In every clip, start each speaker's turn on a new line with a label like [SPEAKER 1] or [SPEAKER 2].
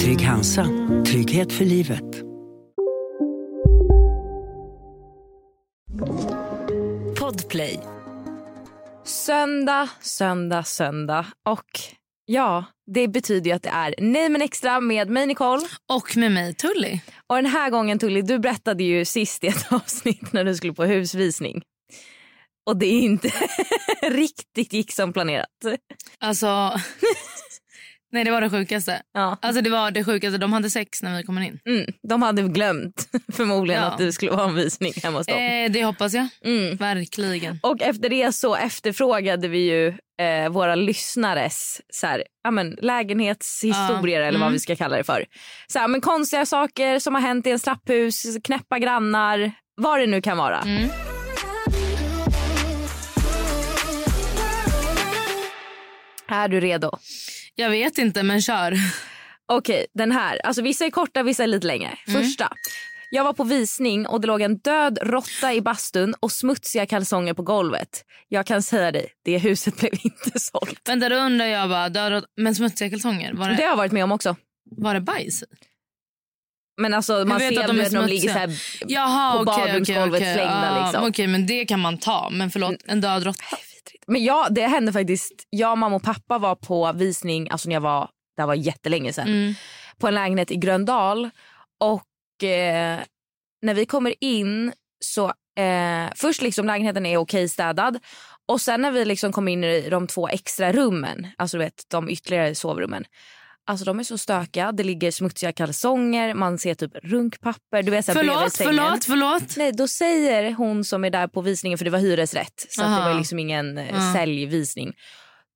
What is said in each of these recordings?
[SPEAKER 1] Trygg-Hansa. Trygghet för livet.
[SPEAKER 2] Podplay.
[SPEAKER 3] Söndag, söndag, söndag och ja, det betyder ju att det är Nej men extra med mig Nicole.
[SPEAKER 4] Och med mig Tully.
[SPEAKER 3] Och den här gången Tully, du berättade ju sist i ett avsnitt när du skulle på husvisning. Och det är inte riktigt gick som planerat.
[SPEAKER 4] Alltså... Nej, det var det sjukaste.
[SPEAKER 3] Ja.
[SPEAKER 4] Alltså det var det sjukaste. De hade sex när vi kom in.
[SPEAKER 3] Mm, de hade glömt förmodligen
[SPEAKER 4] Ja.
[SPEAKER 3] att du skulle vara en visning hemma hos dem.
[SPEAKER 4] Eh, det hoppas jag.
[SPEAKER 3] Mm.
[SPEAKER 4] Verkligen.
[SPEAKER 3] Och efter det så efterfrågade vi ju eh, våra lyssnares så här, ja, men, lägenhetshistorier
[SPEAKER 4] Ja,
[SPEAKER 3] eller vad
[SPEAKER 4] mm.
[SPEAKER 3] vi ska kalla det för. Så här, men konstiga saker som har hänt i en trapphus, knäppa grannar, vad det nu kan vara.
[SPEAKER 4] Mm.
[SPEAKER 3] Är du redo?
[SPEAKER 4] Jag vet inte, men kör.
[SPEAKER 3] Okej, den här. Alltså, vissa är korta, vissa är lite längre.
[SPEAKER 4] Mm.
[SPEAKER 3] Första. Jag var på visning och det låg en död råtta i bastun och smutsiga kalsonger på golvet. Jag kan säga dig, det huset blev inte sålt.
[SPEAKER 4] Vänta, då undrar jag bara. Död och... Men smutsiga kalsonger, var
[SPEAKER 3] Det har
[SPEAKER 4] det,
[SPEAKER 3] jag varit med om också.
[SPEAKER 4] var det bajs i?
[SPEAKER 3] Men alltså, man
[SPEAKER 4] vet
[SPEAKER 3] ser
[SPEAKER 4] att de är
[SPEAKER 3] när de ligger så
[SPEAKER 4] smutsiga.
[SPEAKER 3] här
[SPEAKER 4] Jaha,
[SPEAKER 3] På
[SPEAKER 4] okej,
[SPEAKER 3] badrumsgolvet
[SPEAKER 4] okej, okej.
[SPEAKER 3] slängda,
[SPEAKER 4] Ja,
[SPEAKER 3] liksom.
[SPEAKER 4] Okej, men det kan man ta. Men förlåt, en död råtta.
[SPEAKER 3] Men ja, det hände faktiskt. Jag, mamma och pappa var på visning, alltså när jag var, det här var jättelänge sedan,
[SPEAKER 4] Mm.
[SPEAKER 3] på en lägenhet i Gröndal. Och eh, när vi kommer in så, eh, först liksom lägenheten är okej städad. Och sen när vi liksom kommer in i de två extra rummen, alltså du vet de ytterligare sovrummen. Alltså de är så stökiga, det ligger smutsiga kalsonger, man ser typ runkpapper. Du vet, så här, bredvid
[SPEAKER 4] Förlåt,
[SPEAKER 3] sängen.
[SPEAKER 4] förlåt, förlåt.
[SPEAKER 3] Nej, då säger hon som är där på visningen, för det var hyresrätt så att det
[SPEAKER 4] Aha. Mm.
[SPEAKER 3] var ju liksom ingen eh,
[SPEAKER 4] Ja.
[SPEAKER 3] säljvisning.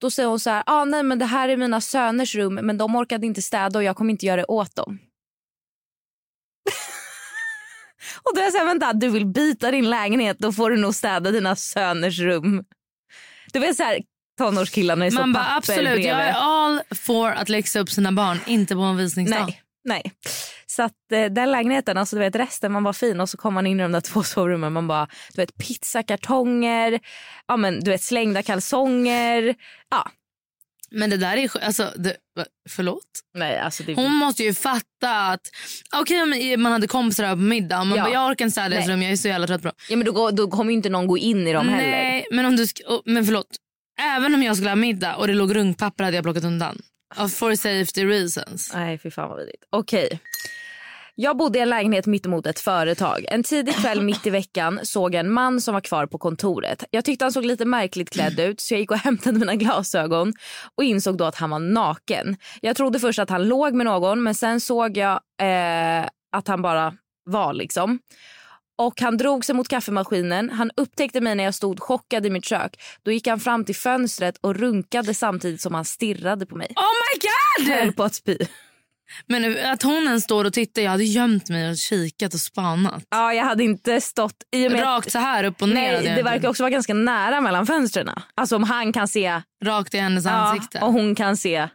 [SPEAKER 3] Då säger hon så här, ah, nej men det här är mina söners rum men de orkade inte städa och jag kommer inte göra det åt dem. och då är jag så här, vänta du vill byta din lägenhet då får du nog städa dina söners rum. Du vet så här tonårskillarna är så
[SPEAKER 4] Man bara
[SPEAKER 3] papper
[SPEAKER 4] absolut,
[SPEAKER 3] bredvid.
[SPEAKER 4] jag är all for att läxa upp sina barn. Inte på en visningsdag.
[SPEAKER 3] Nej. Nej. Så att eh, den lägenheten, alltså du vet resten man var fin och så kom man in i de där två sovrummen man bara du vet pizzakartonger, ja men du vet slängda kalsonger. Ja,
[SPEAKER 4] Men det där är sj- alltså, det, va- förlåt.
[SPEAKER 3] nej alltså det
[SPEAKER 4] Hon måste ju fatta att okej om man hade kompisar över på middag. Man
[SPEAKER 3] Ja.
[SPEAKER 4] bara, jag orkar inte städa deras
[SPEAKER 3] Nej.
[SPEAKER 4] rum, jag är så jävla trött på dem.
[SPEAKER 3] Ja men då, går- då kommer ju inte någon gå in i dem heller.
[SPEAKER 4] Nej, men, om du sk- oh, men förlåt. Även om jag skulle ha middag och det låg rungpapper hade jag plockat undan. Av For safety reasons.
[SPEAKER 3] Nej, fy fan vad vidrigt. Okej. Jag bodde i en lägenhet mittemot ett företag. En tidig kväll mitt i veckan såg jag en man som var kvar på kontoret. Jag tyckte han såg lite märkligt klädd ut så jag gick och hämtade mina glasögon och insåg då att han var naken. Jag trodde först att han låg med någon men sen såg jag eh, att han bara var liksom. Och Han drog sig mot kaffemaskinen. Han upptäckte mig när jag stod chockad i mitt kök. Då gick han fram till fönstret och runkade samtidigt som han stirrade på mig.
[SPEAKER 4] Oh my god!
[SPEAKER 3] Höll på att spy.
[SPEAKER 4] Men att hon ens står och tittar, jag hade gömt mig och kikat och spanat.
[SPEAKER 3] Ja, jag hade inte stått... I och med
[SPEAKER 4] Rakt så här upp och ner.
[SPEAKER 3] nej,
[SPEAKER 4] hade jag
[SPEAKER 3] det
[SPEAKER 4] inte-
[SPEAKER 3] verkar också vara ganska nära mellan fönstren. Alltså om han kan se
[SPEAKER 4] Rakt i hennes
[SPEAKER 3] ja, Eh,
[SPEAKER 4] ansikte.
[SPEAKER 3] och hon kan se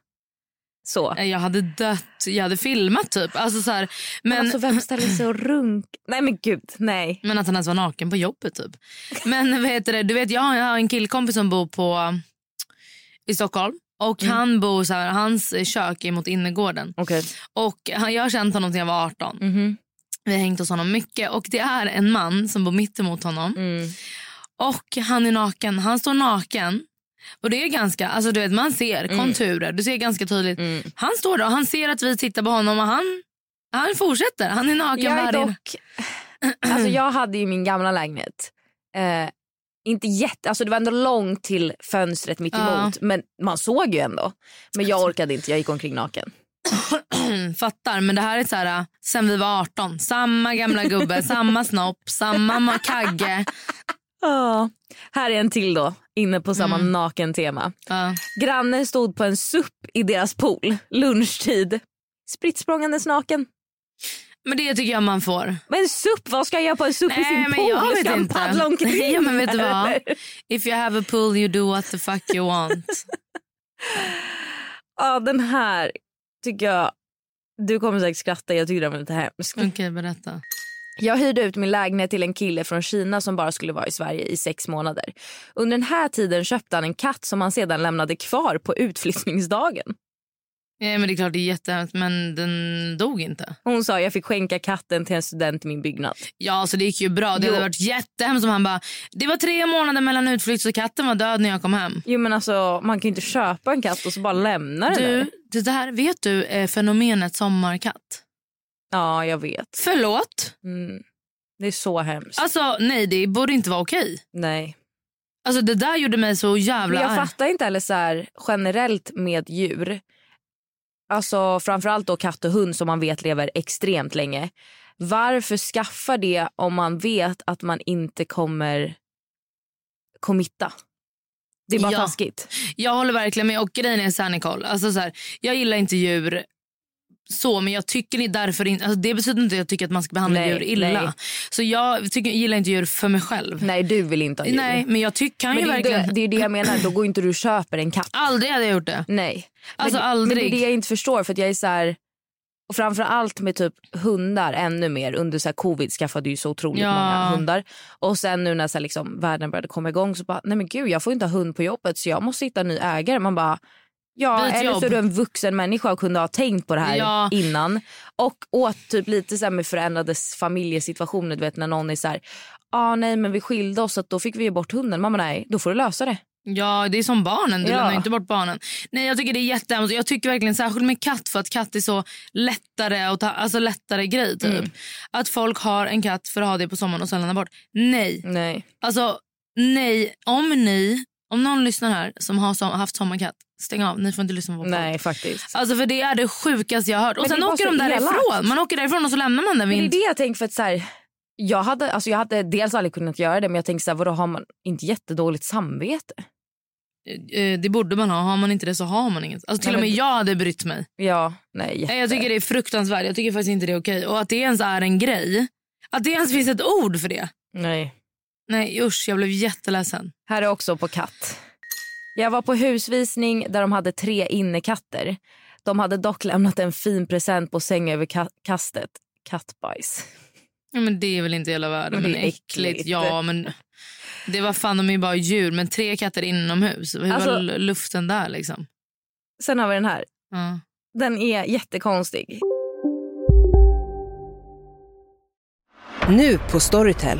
[SPEAKER 3] så. Men,
[SPEAKER 4] Jag hade dött, jag hade filmat typ. Alltså, så här, men,
[SPEAKER 3] alltså vem ställer sig och runk... Nej men gud, nej.
[SPEAKER 4] men att han ens var naken på jobbet typ. Men vad heter det, du vet jag har jag har en killkompis som bor på eh, i Stockholm. Och
[SPEAKER 3] Mm.
[SPEAKER 4] han bor så här, hans kök är mot innergården.
[SPEAKER 3] Okej.
[SPEAKER 4] Och han, jag har känt honom sedan jag var 18.
[SPEAKER 3] Mhm.
[SPEAKER 4] Vi har hängt hos honom mycket. Och det är en man som bor mitt emot honom.
[SPEAKER 3] Mm.
[SPEAKER 4] Och han är naken. Han står naken. Och det är ganska, alltså du vet man ser konturer. Du ser ganska tydligt.
[SPEAKER 3] Mm.
[SPEAKER 4] Han står där och han ser att vi tittar på honom och han, han fortsätter. Han är naken
[SPEAKER 3] Jag är
[SPEAKER 4] varje
[SPEAKER 3] dock... Alltså jag hade ju min gamla lägenhet. Eh, Inte jätte, alltså det var ändå långt till fönstret mitt emot. men man såg ju ändå. Men jag orkade inte, jag gick omkring naken.
[SPEAKER 4] Fattar, men det här är så här, äh, sen vi var 18. Samma gamla gubbe, samma snopp, samma ma- kagge.
[SPEAKER 3] Ja. Mm. Här är en till då, inne på samma naken-tema.
[SPEAKER 4] Ja.
[SPEAKER 3] Grannen stod på en supp i deras pool, lunchtid. Spritt språngandes naken.
[SPEAKER 4] Men det tycker jag man får.
[SPEAKER 3] Men supp, vad ska jag göra på en supp i sin pool? ska han paddla omkring?
[SPEAKER 4] ja, men vet du vad?
[SPEAKER 3] eller?
[SPEAKER 4] If you have a pool you do what the fuck you want.
[SPEAKER 3] Ja, den här tycker jag... Du kommer säkert skratta, jag tycker den var lite hemsk.
[SPEAKER 4] Okej, berätta.
[SPEAKER 3] Jag hyrde ut min lägenhet till en kille från Kina som bara skulle vara i Sverige i sex månader. Under den här tiden köpte han en katt som han sedan lämnade kvar på utflyttningsdagen.
[SPEAKER 4] Ja, men det är klart det är jättehemskt, men den dog inte.
[SPEAKER 3] Hon sa jag fick skänka katten till en student i min byggnad.
[SPEAKER 4] Ja, så det gick ju bra. Det
[SPEAKER 3] Jo.
[SPEAKER 4] hade varit jättehemskt om han bara, det var tre månader mellan utflykt så katten var död när jag kom hem.
[SPEAKER 3] Jo men alltså man kan ju inte köpa en katt och så bara lämna den där.
[SPEAKER 4] Du, det där, vet du eh, fenomenet sommarkatt?
[SPEAKER 3] Ja jag vet.
[SPEAKER 4] Förlåt?
[SPEAKER 3] Mm. Det är så hemskt.
[SPEAKER 4] Alltså nej, det borde inte vara okej.
[SPEAKER 3] Nej.
[SPEAKER 4] Alltså det där gjorde mig så jävla
[SPEAKER 3] Men jag
[SPEAKER 4] arg.
[SPEAKER 3] fattar inte heller så här, generellt med djur. Alltså framförallt då katt och hund som man vet lever extremt länge. Varför skaffa det om man vet att man inte kommer committa? Det är bara
[SPEAKER 4] Ja.
[SPEAKER 3] taskigt.
[SPEAKER 4] Jag håller verkligen med. Och grejen är så här, Nicole. Alltså så här, jag gillar inte djur så, men jag tycker det är därför inte... Alltså det betyder inte att jag tycker att man ska behandla
[SPEAKER 3] Nej,
[SPEAKER 4] djur illa.
[SPEAKER 3] nej.
[SPEAKER 4] Så jag tycker, gillar inte djur för mig själv.
[SPEAKER 3] Nej, du vill inte ha djur.
[SPEAKER 4] Nej, men jag tycker kan
[SPEAKER 3] Men
[SPEAKER 4] ju
[SPEAKER 3] det, är ju
[SPEAKER 4] verkligen...
[SPEAKER 3] det, det är det jag menar, då går ju inte du och köper en katt.
[SPEAKER 4] Aldrig hade jag gjort det.
[SPEAKER 3] Nej. Men
[SPEAKER 4] Alltså,
[SPEAKER 3] det, Men det är
[SPEAKER 4] aldrig.
[SPEAKER 3] det jag inte förstår för att jag är så här och framförallt med typ hundar ännu mer under så här covid skaffade ju så otroligt
[SPEAKER 4] Ja.
[SPEAKER 3] många hundar och sen nu när så här liksom världen började komma igång så bara nej men gud jag får inte ha hund på jobbet så jag måste hitta en ny ägare man bara ja
[SPEAKER 4] Byt
[SPEAKER 3] eller så
[SPEAKER 4] jobb.
[SPEAKER 3] är du en vuxen människa och kunde ha tänkt på det här
[SPEAKER 4] Ja.
[SPEAKER 3] innan och åt typ lite så här med förändrade s- familjesituationer du vet när någon är så här ah, nej men vi skilde oss så att då fick vi ge bort hunden mamma nej då får du lösa det
[SPEAKER 4] Ja, det är som barnen. Du
[SPEAKER 3] Ja.
[SPEAKER 4] lämnar ju inte bort barnen. Nej, jag tycker det är jättehemskt. Jag tycker verkligen särskilt med katt för att katt är så lättare och ta, alltså lättare grej typ.
[SPEAKER 3] Mm.
[SPEAKER 4] Att folk har en katt för att ha det på sommaren och sen lämna bort. Nej.
[SPEAKER 3] nej
[SPEAKER 4] Alltså nej, om ni, om någon lyssnar här som har som, haft sommarkatt, stäng av. Ni får inte lyssna på vår
[SPEAKER 3] nej
[SPEAKER 4] podd.
[SPEAKER 3] faktiskt
[SPEAKER 4] Alltså för det är det sjukaste jag har hört. Och
[SPEAKER 3] Men det är
[SPEAKER 4] sen
[SPEAKER 3] bara
[SPEAKER 4] åker
[SPEAKER 3] så
[SPEAKER 4] de
[SPEAKER 3] elakt.
[SPEAKER 4] därifrån. Man åker därifrån och så lämnar man den
[SPEAKER 3] Men det är
[SPEAKER 4] vid
[SPEAKER 3] det jag tänker för att så här, jag hade, alltså jag hade dels aldrig kunnat göra det men jag tänkte så här, vadå har man inte jättedåligt samvete?
[SPEAKER 4] det, eh, det borde man ha. Har man inte det så har man inget. Alltså till
[SPEAKER 3] Nej,
[SPEAKER 4] och
[SPEAKER 3] men-
[SPEAKER 4] med jag hade brytt mig.
[SPEAKER 3] Ja, nej jätte.
[SPEAKER 4] Nej, Jag tycker det är fruktansvärt. Jag tycker faktiskt inte det är okej. Och att det ens är en grej. Att det ens finns ett ord för det.
[SPEAKER 3] nej.
[SPEAKER 4] Nej usch, jag blev jätteledsen.
[SPEAKER 3] Här är också på katt. Jag var på husvisning där de hade tre innekatter. De hade dock lämnat en fin present på sängöverkastet. Kattbajs.
[SPEAKER 4] Ja, men det är väl inte hela världen.
[SPEAKER 3] Men det
[SPEAKER 4] Men
[SPEAKER 3] är
[SPEAKER 4] äckligt.
[SPEAKER 3] äckligt.
[SPEAKER 4] Ja, men det var fan, de är ju bara djur. Men tre katter inomhus. Hur
[SPEAKER 3] Alltså-
[SPEAKER 4] var lu- luften där liksom?
[SPEAKER 3] Sen har vi den här.
[SPEAKER 4] Ja.
[SPEAKER 3] Den är jättekonstig.
[SPEAKER 5] Nu på Storytel.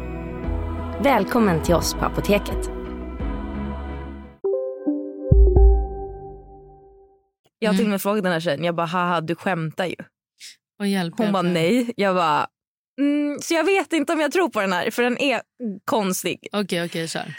[SPEAKER 6] Välkommen till oss på Apoteket.
[SPEAKER 3] Jag till och med frågade den här tjejen, jag bara haha du skämtar ju.
[SPEAKER 4] Och hjälp,
[SPEAKER 3] Hon
[SPEAKER 4] hjälp,
[SPEAKER 3] bara
[SPEAKER 4] hjälp.
[SPEAKER 3] nej. Jag bara mm, så jag vet inte om jag tror på den här för den är konstig.
[SPEAKER 4] Okej, okej, kör.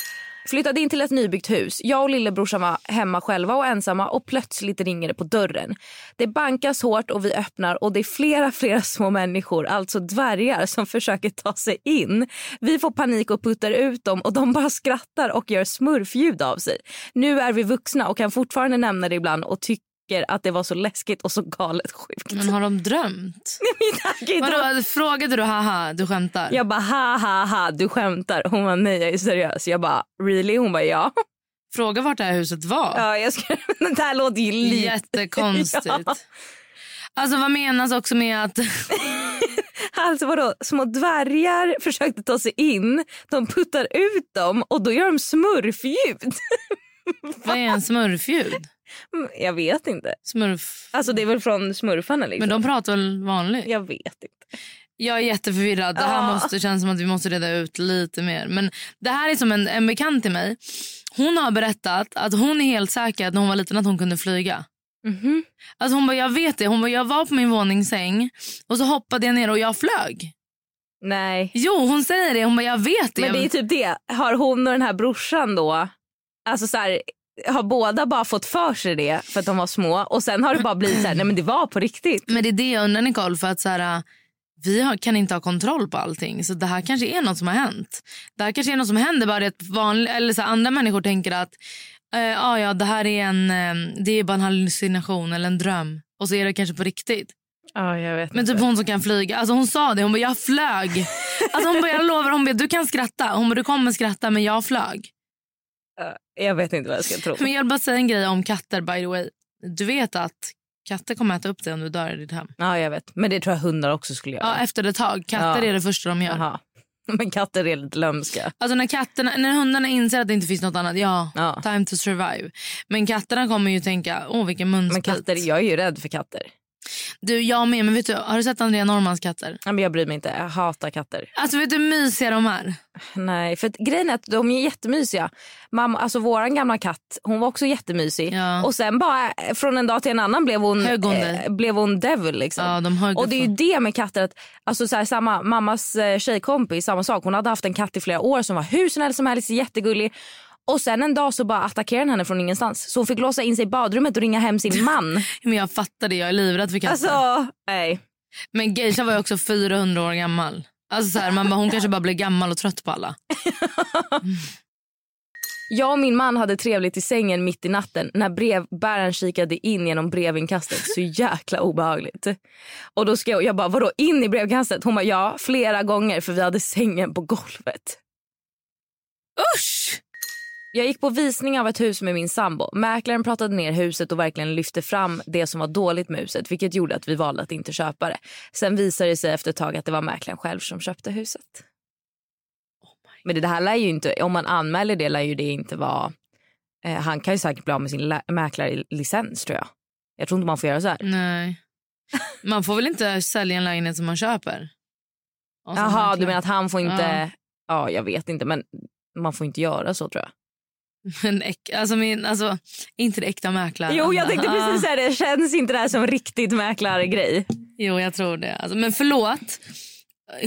[SPEAKER 3] Flyttade in till ett nybyggt hus. Jag och lillebrorsan var hemma själva och ensamma och plötsligt ringer det på dörren. Det bankas hårt och vi öppnar och det är flera, flera små människor, alltså dvärgar, som försöker ta sig in. Vi får panik och puttar ut dem och de bara skrattar och gör smurfljud av sig. Nu är vi vuxna och kan fortfarande nämna det ibland och tycker att det var så läskigt och så galet sjukt.
[SPEAKER 4] Men har de drömt? Vadå, frågade du haha, du skämtar?
[SPEAKER 3] Jag bara ha ha ha du skämtar. Hon var nej jag är seriös. Jag bara really? Hon bara ja.
[SPEAKER 4] Fråga vart det här huset var.
[SPEAKER 3] ja jag ska... Det här låter ju lite...
[SPEAKER 4] Jättekonstigt.
[SPEAKER 3] Ja.
[SPEAKER 4] Alltså vad menas också med att...
[SPEAKER 3] Alltså vadå små dvärgar försökte ta sig in. De puttar ut dem och då gör de smurfljud. Mm,
[SPEAKER 4] Vad är en smurfljud?
[SPEAKER 3] Jag vet inte.
[SPEAKER 4] Smurf...
[SPEAKER 3] Alltså det är väl från smurfarna liksom.
[SPEAKER 4] Men de pratar väl vanligt?
[SPEAKER 3] Jag vet inte.
[SPEAKER 4] Jag är jätteförvirrad. Det här
[SPEAKER 3] Ja.
[SPEAKER 4] måste, känns som att vi måste reda ut lite mer. Men det här är som en, en bekant till mig. Hon har berättat att hon är helt säker att när hon var liten att hon kunde flyga.
[SPEAKER 3] Mhm.
[SPEAKER 4] Alltså hon bara, jag vet det. Hon bara, jag var på min våningssäng och så hoppade jag ner och jag flög.
[SPEAKER 3] Nej.
[SPEAKER 4] Jo, hon säger det. Hon bara, jag vet det.
[SPEAKER 3] Men det är typ det. Har hon och den här brorsan då, alltså så här, har båda bara fått för sig det för att de var små och sen har det bara blivit så här, nej men det var på riktigt.
[SPEAKER 4] Men det är det jag undrar Nicole för att så här, äh, vi har, kan inte ha kontroll på allting. Så det här kanske är något som har hänt. Det här kanske är något som händer bara det att vanlig, eller så här, andra människor tänker att eh, ah, ja, det här är en, eh, det är bara en hallucination eller en dröm. Och så är det kanske på riktigt.
[SPEAKER 3] Ja, jag vet
[SPEAKER 4] Men typ hon som kan flyga, alltså hon sa det, hon bara jag flög. Alltså hon bara jag lovar, hon bara du kan skratta, hon bara du kommer skratta men jag flög.
[SPEAKER 3] Jag vet inte vad jag ska tro.
[SPEAKER 4] Men jag vill bara säga en grej om katter by the way. Du vet att katter kommer äta upp dig om du dör i ditt hem.
[SPEAKER 3] Ja, jag vet. Men det tror jag hundar också skulle göra.
[SPEAKER 4] Ja, efter ett tag. Katter
[SPEAKER 3] Ja.
[SPEAKER 4] är det första de gör.
[SPEAKER 3] Jaha. Men katter är lite lömska.
[SPEAKER 4] Alltså när, katterna, när hundarna inser att det inte finns något annat, ja,
[SPEAKER 3] Ja.
[SPEAKER 4] time to survive. Men katterna kommer ju tänka, åh vilken
[SPEAKER 3] Men
[SPEAKER 4] munspit.
[SPEAKER 3] katter, jag är ju rädd för katter.
[SPEAKER 4] Du, jag med, men vet du, har du sett Andrea Normans katter?
[SPEAKER 3] Ja, Men jag bryr mig inte. Jag hatar katter.
[SPEAKER 4] Alltså vet du hur mysiga de är?
[SPEAKER 3] Nej, för att grejen är att de är jättemysiga. Mamma, alltså våran gamla katt, hon var också jättemysig.
[SPEAKER 4] Ja.
[SPEAKER 3] Och sen bara eh, från en dag till en annan blev hon, eh,
[SPEAKER 4] Högg hon dig?
[SPEAKER 3] blev hon devil liksom.
[SPEAKER 4] Ja, de har
[SPEAKER 3] och det är ju det med katter att, alltså så här, samma, mammas eh, tjejkompis, samma sak. Hon hade haft en katt i flera år som var hur snäll som helst, jättegullig. Och sen en dag så bara attackerade den henne från ingenstans. Så hon fick låsa in sig i badrummet och ringa hem sin man.
[SPEAKER 4] Men jag fattar det, jag är livrädd för katter.
[SPEAKER 3] alltså, nej.
[SPEAKER 4] Men Geisha var ju också 400 år gammal. Alltså så här, man bara, hon kanske bara blir gammal och trött på alla.
[SPEAKER 3] Jag och min man hade trevligt i sängen mitt i natten när brevbäraren kikade in genom brevinkastet. Så jäkla obehagligt. Och då ska jag, jag bara, vadå in i brevkastet? Hon bara, ja flera gånger för vi hade sängen på golvet.
[SPEAKER 4] Usch!
[SPEAKER 3] Jag gick på visning av ett hus med min sambo. Mäklaren pratade ner huset och verkligen lyfte fram det som var dåligt med huset vilket gjorde att vi valde att inte köpa det. Sen visade det sig efter ett tag att det var mäklaren själv som köpte huset. Men det det här lär ju inte, om man anmäler det lär ju det inte vara... Eh, han kan ju säkert bli av med sin lä- mäklarlicens tror jag. Jag tror inte man får göra så här.
[SPEAKER 4] Nej. Man får väl inte sälja en lägenhet som man köper? Och som
[SPEAKER 3] Jaha,
[SPEAKER 4] man-
[SPEAKER 3] du menar att Alltså, han får inte... Ja, jag vet inte men man får inte göra så tror jag.
[SPEAKER 4] Men äck, alltså, min, alltså, inte det äkta mäklaren.
[SPEAKER 3] Jo, jag tänkte
[SPEAKER 4] Ah.
[SPEAKER 3] precis säga det. Känns inte det här som riktigt mäklargrej?
[SPEAKER 4] Jo, jag tror det. Alltså, men förlåt.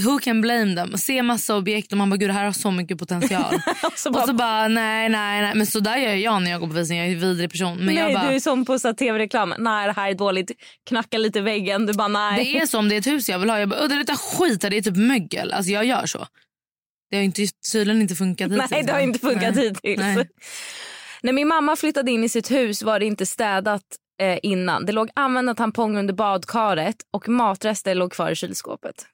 [SPEAKER 4] Who can blame them? Se massa objekt och man bara, gud det här har så mycket potential.
[SPEAKER 3] Och så
[SPEAKER 4] och
[SPEAKER 3] bara-
[SPEAKER 4] så bara, nej, nej, nej. Men så där gör jag när jag går på visning. Jag är en vidrig person. Men jag
[SPEAKER 3] nej,
[SPEAKER 4] bara,
[SPEAKER 3] du är som på så här tv-reklam. Nej, det här är dåligt. Knacka lite i väggen. Du bara nej.
[SPEAKER 4] det är så om det är ett hus jag vill ha. Jag bara, "Åh, det luktar skit här. Det är typ mögel. Alltså jag gör så. Det har ju inte, tydligen inte funkat hittills.
[SPEAKER 3] Nej, det har inte funkat
[SPEAKER 4] Nej.
[SPEAKER 3] hittills.
[SPEAKER 4] Nej.
[SPEAKER 3] När min mamma flyttade in i sitt hus var det inte städat eh, innan. Det låg använda tamponger under badkaret och matrester låg kvar i kylskåpet.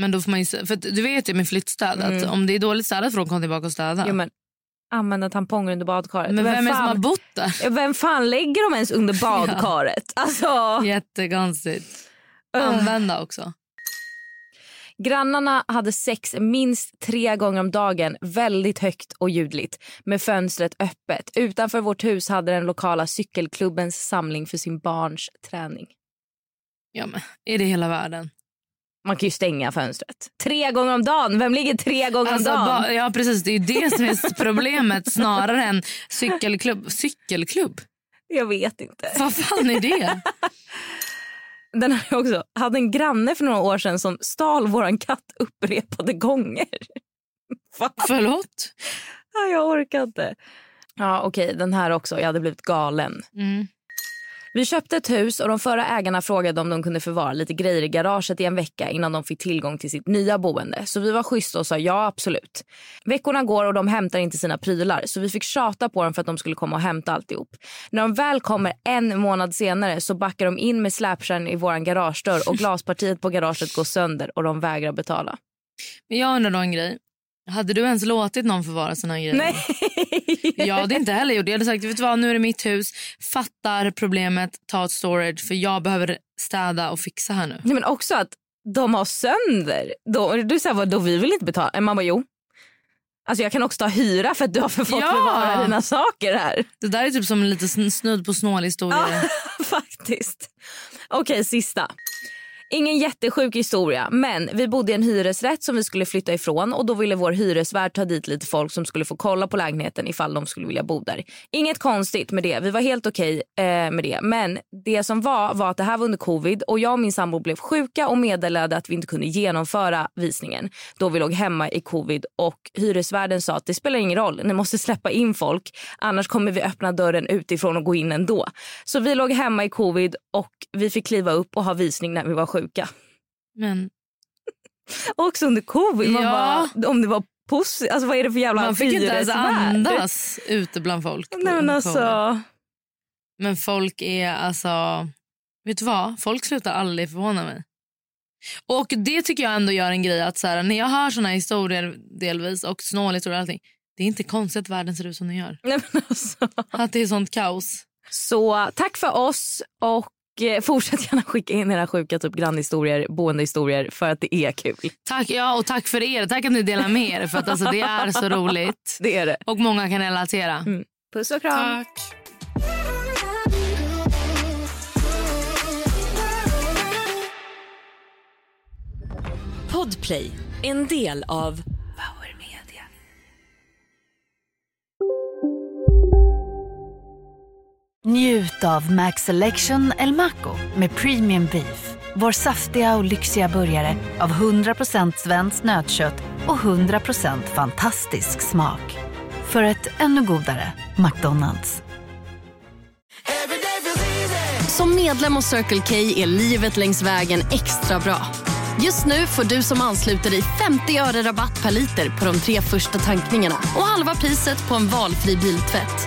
[SPEAKER 4] Men då får man ju, för att du vet ju med flyttstäd att
[SPEAKER 3] Mm.
[SPEAKER 4] om det är dåligt städat får de komma tillbaka och städa.
[SPEAKER 3] Jo, men använda tamponger under badkaret.
[SPEAKER 4] men vem, är det som
[SPEAKER 3] fan,
[SPEAKER 4] har bott där?
[SPEAKER 3] vem fan lägger de ens under badkaret? Alltså, eh,
[SPEAKER 4] Jättekonstigt. Använda också.
[SPEAKER 3] Grannarna hade sex minst tre gånger om dagen, väldigt högt och ljudligt, med fönstret öppet. Utanför vårt hus hade den lokala cykelklubbens samling för sin barns träning.
[SPEAKER 4] Ja, men, är det hela världen?
[SPEAKER 3] Man kan ju stänga fönstret. Tre gånger om dagen! Vem ligger tre gånger
[SPEAKER 4] Alltså,
[SPEAKER 3] om dagen?
[SPEAKER 4] ba, ja precis, det är ju det som är problemet snarare än cykelklubb. Cykelklubb?
[SPEAKER 3] Jag vet inte.
[SPEAKER 4] Vad fan är det?
[SPEAKER 3] Den här är också. hade en granne för några år sedan som stal våran katt upprepade gånger.
[SPEAKER 4] Förlåt?
[SPEAKER 3] Ja, Jag orkar inte. Ja, okej, den här också. Jag hade blivit galen.
[SPEAKER 4] Mm.
[SPEAKER 3] Vi köpte ett hus och de förra ägarna frågade om de kunde förvara lite grejer i garaget i en vecka innan de fick tillgång till sitt nya boende. Så vi var schyssta och sa ja, absolut. Veckorna går och de hämtar inte sina prylar så vi fick tjata på dem för att de skulle komma och hämta alltihop. När de väl kommer en månad senare så backar de in med släpkärran i våran garagedörr och glaspartiet på garaget går sönder och de vägrar betala.
[SPEAKER 4] Men jag undrar då en grej. Hade du ens låtit någon förvara såna här grejer? Jag hade inte heller gjort det. Jag hade sagt, vet du vad, nu är det mitt hus. Fattar problemet, ta ett storage för jag behöver städa och fixa här nu.
[SPEAKER 3] Nej, men också att de har sönder. Då, du säger vad då vi vill inte betala. Man bara jo. Alltså jag kan också ta hyra för att du har för fått
[SPEAKER 4] Ja.
[SPEAKER 3] bevara dina saker här.
[SPEAKER 4] Det där är typ som en lite sn- snudd på snålhistoria.
[SPEAKER 3] Ah. Faktiskt. Okej, sista. Ingen jättesjuk historia, men vi bodde i en hyresrätt som vi skulle flytta ifrån och då ville vår hyresvärd ta dit lite folk som skulle få kolla på lägenheten ifall de skulle vilja bo där. Inget konstigt med det, vi var helt okej eh, med det. Men det som var var att det här var under covid och jag och min sambo blev sjuka och meddelade att vi inte kunde genomföra visningen då vi låg hemma i covid och hyresvärden sa att det spelar ingen roll, ni måste släppa in folk annars kommer vi öppna dörren utifrån och gå in ändå. Så vi låg hemma i covid och vi fick kliva upp och ha visning när vi var sjuka.
[SPEAKER 4] Men
[SPEAKER 3] Också under covid. Man
[SPEAKER 4] Ja.
[SPEAKER 3] bara, om det var positivt. Alltså vad är det för jävla
[SPEAKER 4] man fick inte ens
[SPEAKER 3] hyresvärd?
[SPEAKER 4] andas ute bland folk. på-
[SPEAKER 3] Nej men
[SPEAKER 4] under covid.
[SPEAKER 3] alltså.
[SPEAKER 4] Men folk är alltså... Vet du vad? Folk slutar aldrig förvåna mig. Och det tycker jag ändå gör en grej att så här, när jag hör såna historier delvis och snålhistorier och allting. Det är inte konstigt att världen ser ut som den gör.
[SPEAKER 3] Nej, men alltså.
[SPEAKER 4] Att det är sånt kaos.
[SPEAKER 3] Så tack för oss och eh, fortsätt gärna skicka in era sjuka typ grannhistorier, boendehistorier för att det är kul.
[SPEAKER 4] Tack, ja, och tack för er. Tack att ni delar med er för att alltså, det är så roligt.
[SPEAKER 3] Det är det.
[SPEAKER 4] Och många kan relatera.
[SPEAKER 3] Puss och kram.
[SPEAKER 4] Tack.
[SPEAKER 7] Podplay, en del av Power Media.
[SPEAKER 8] Njut av Max Selection El Maco med Premium Beef. Vår saftiga och lyxiga burgare av 100% svenskt nötkött och 100% fantastisk smak. För ett ännu godare McDonalds.
[SPEAKER 7] Som medlem hos Circle K är livet längs vägen extra bra. Just nu får du som ansluter dig 50 öre rabatt per liter på de tre första tankningarna och halva priset på en valfri biltvätt.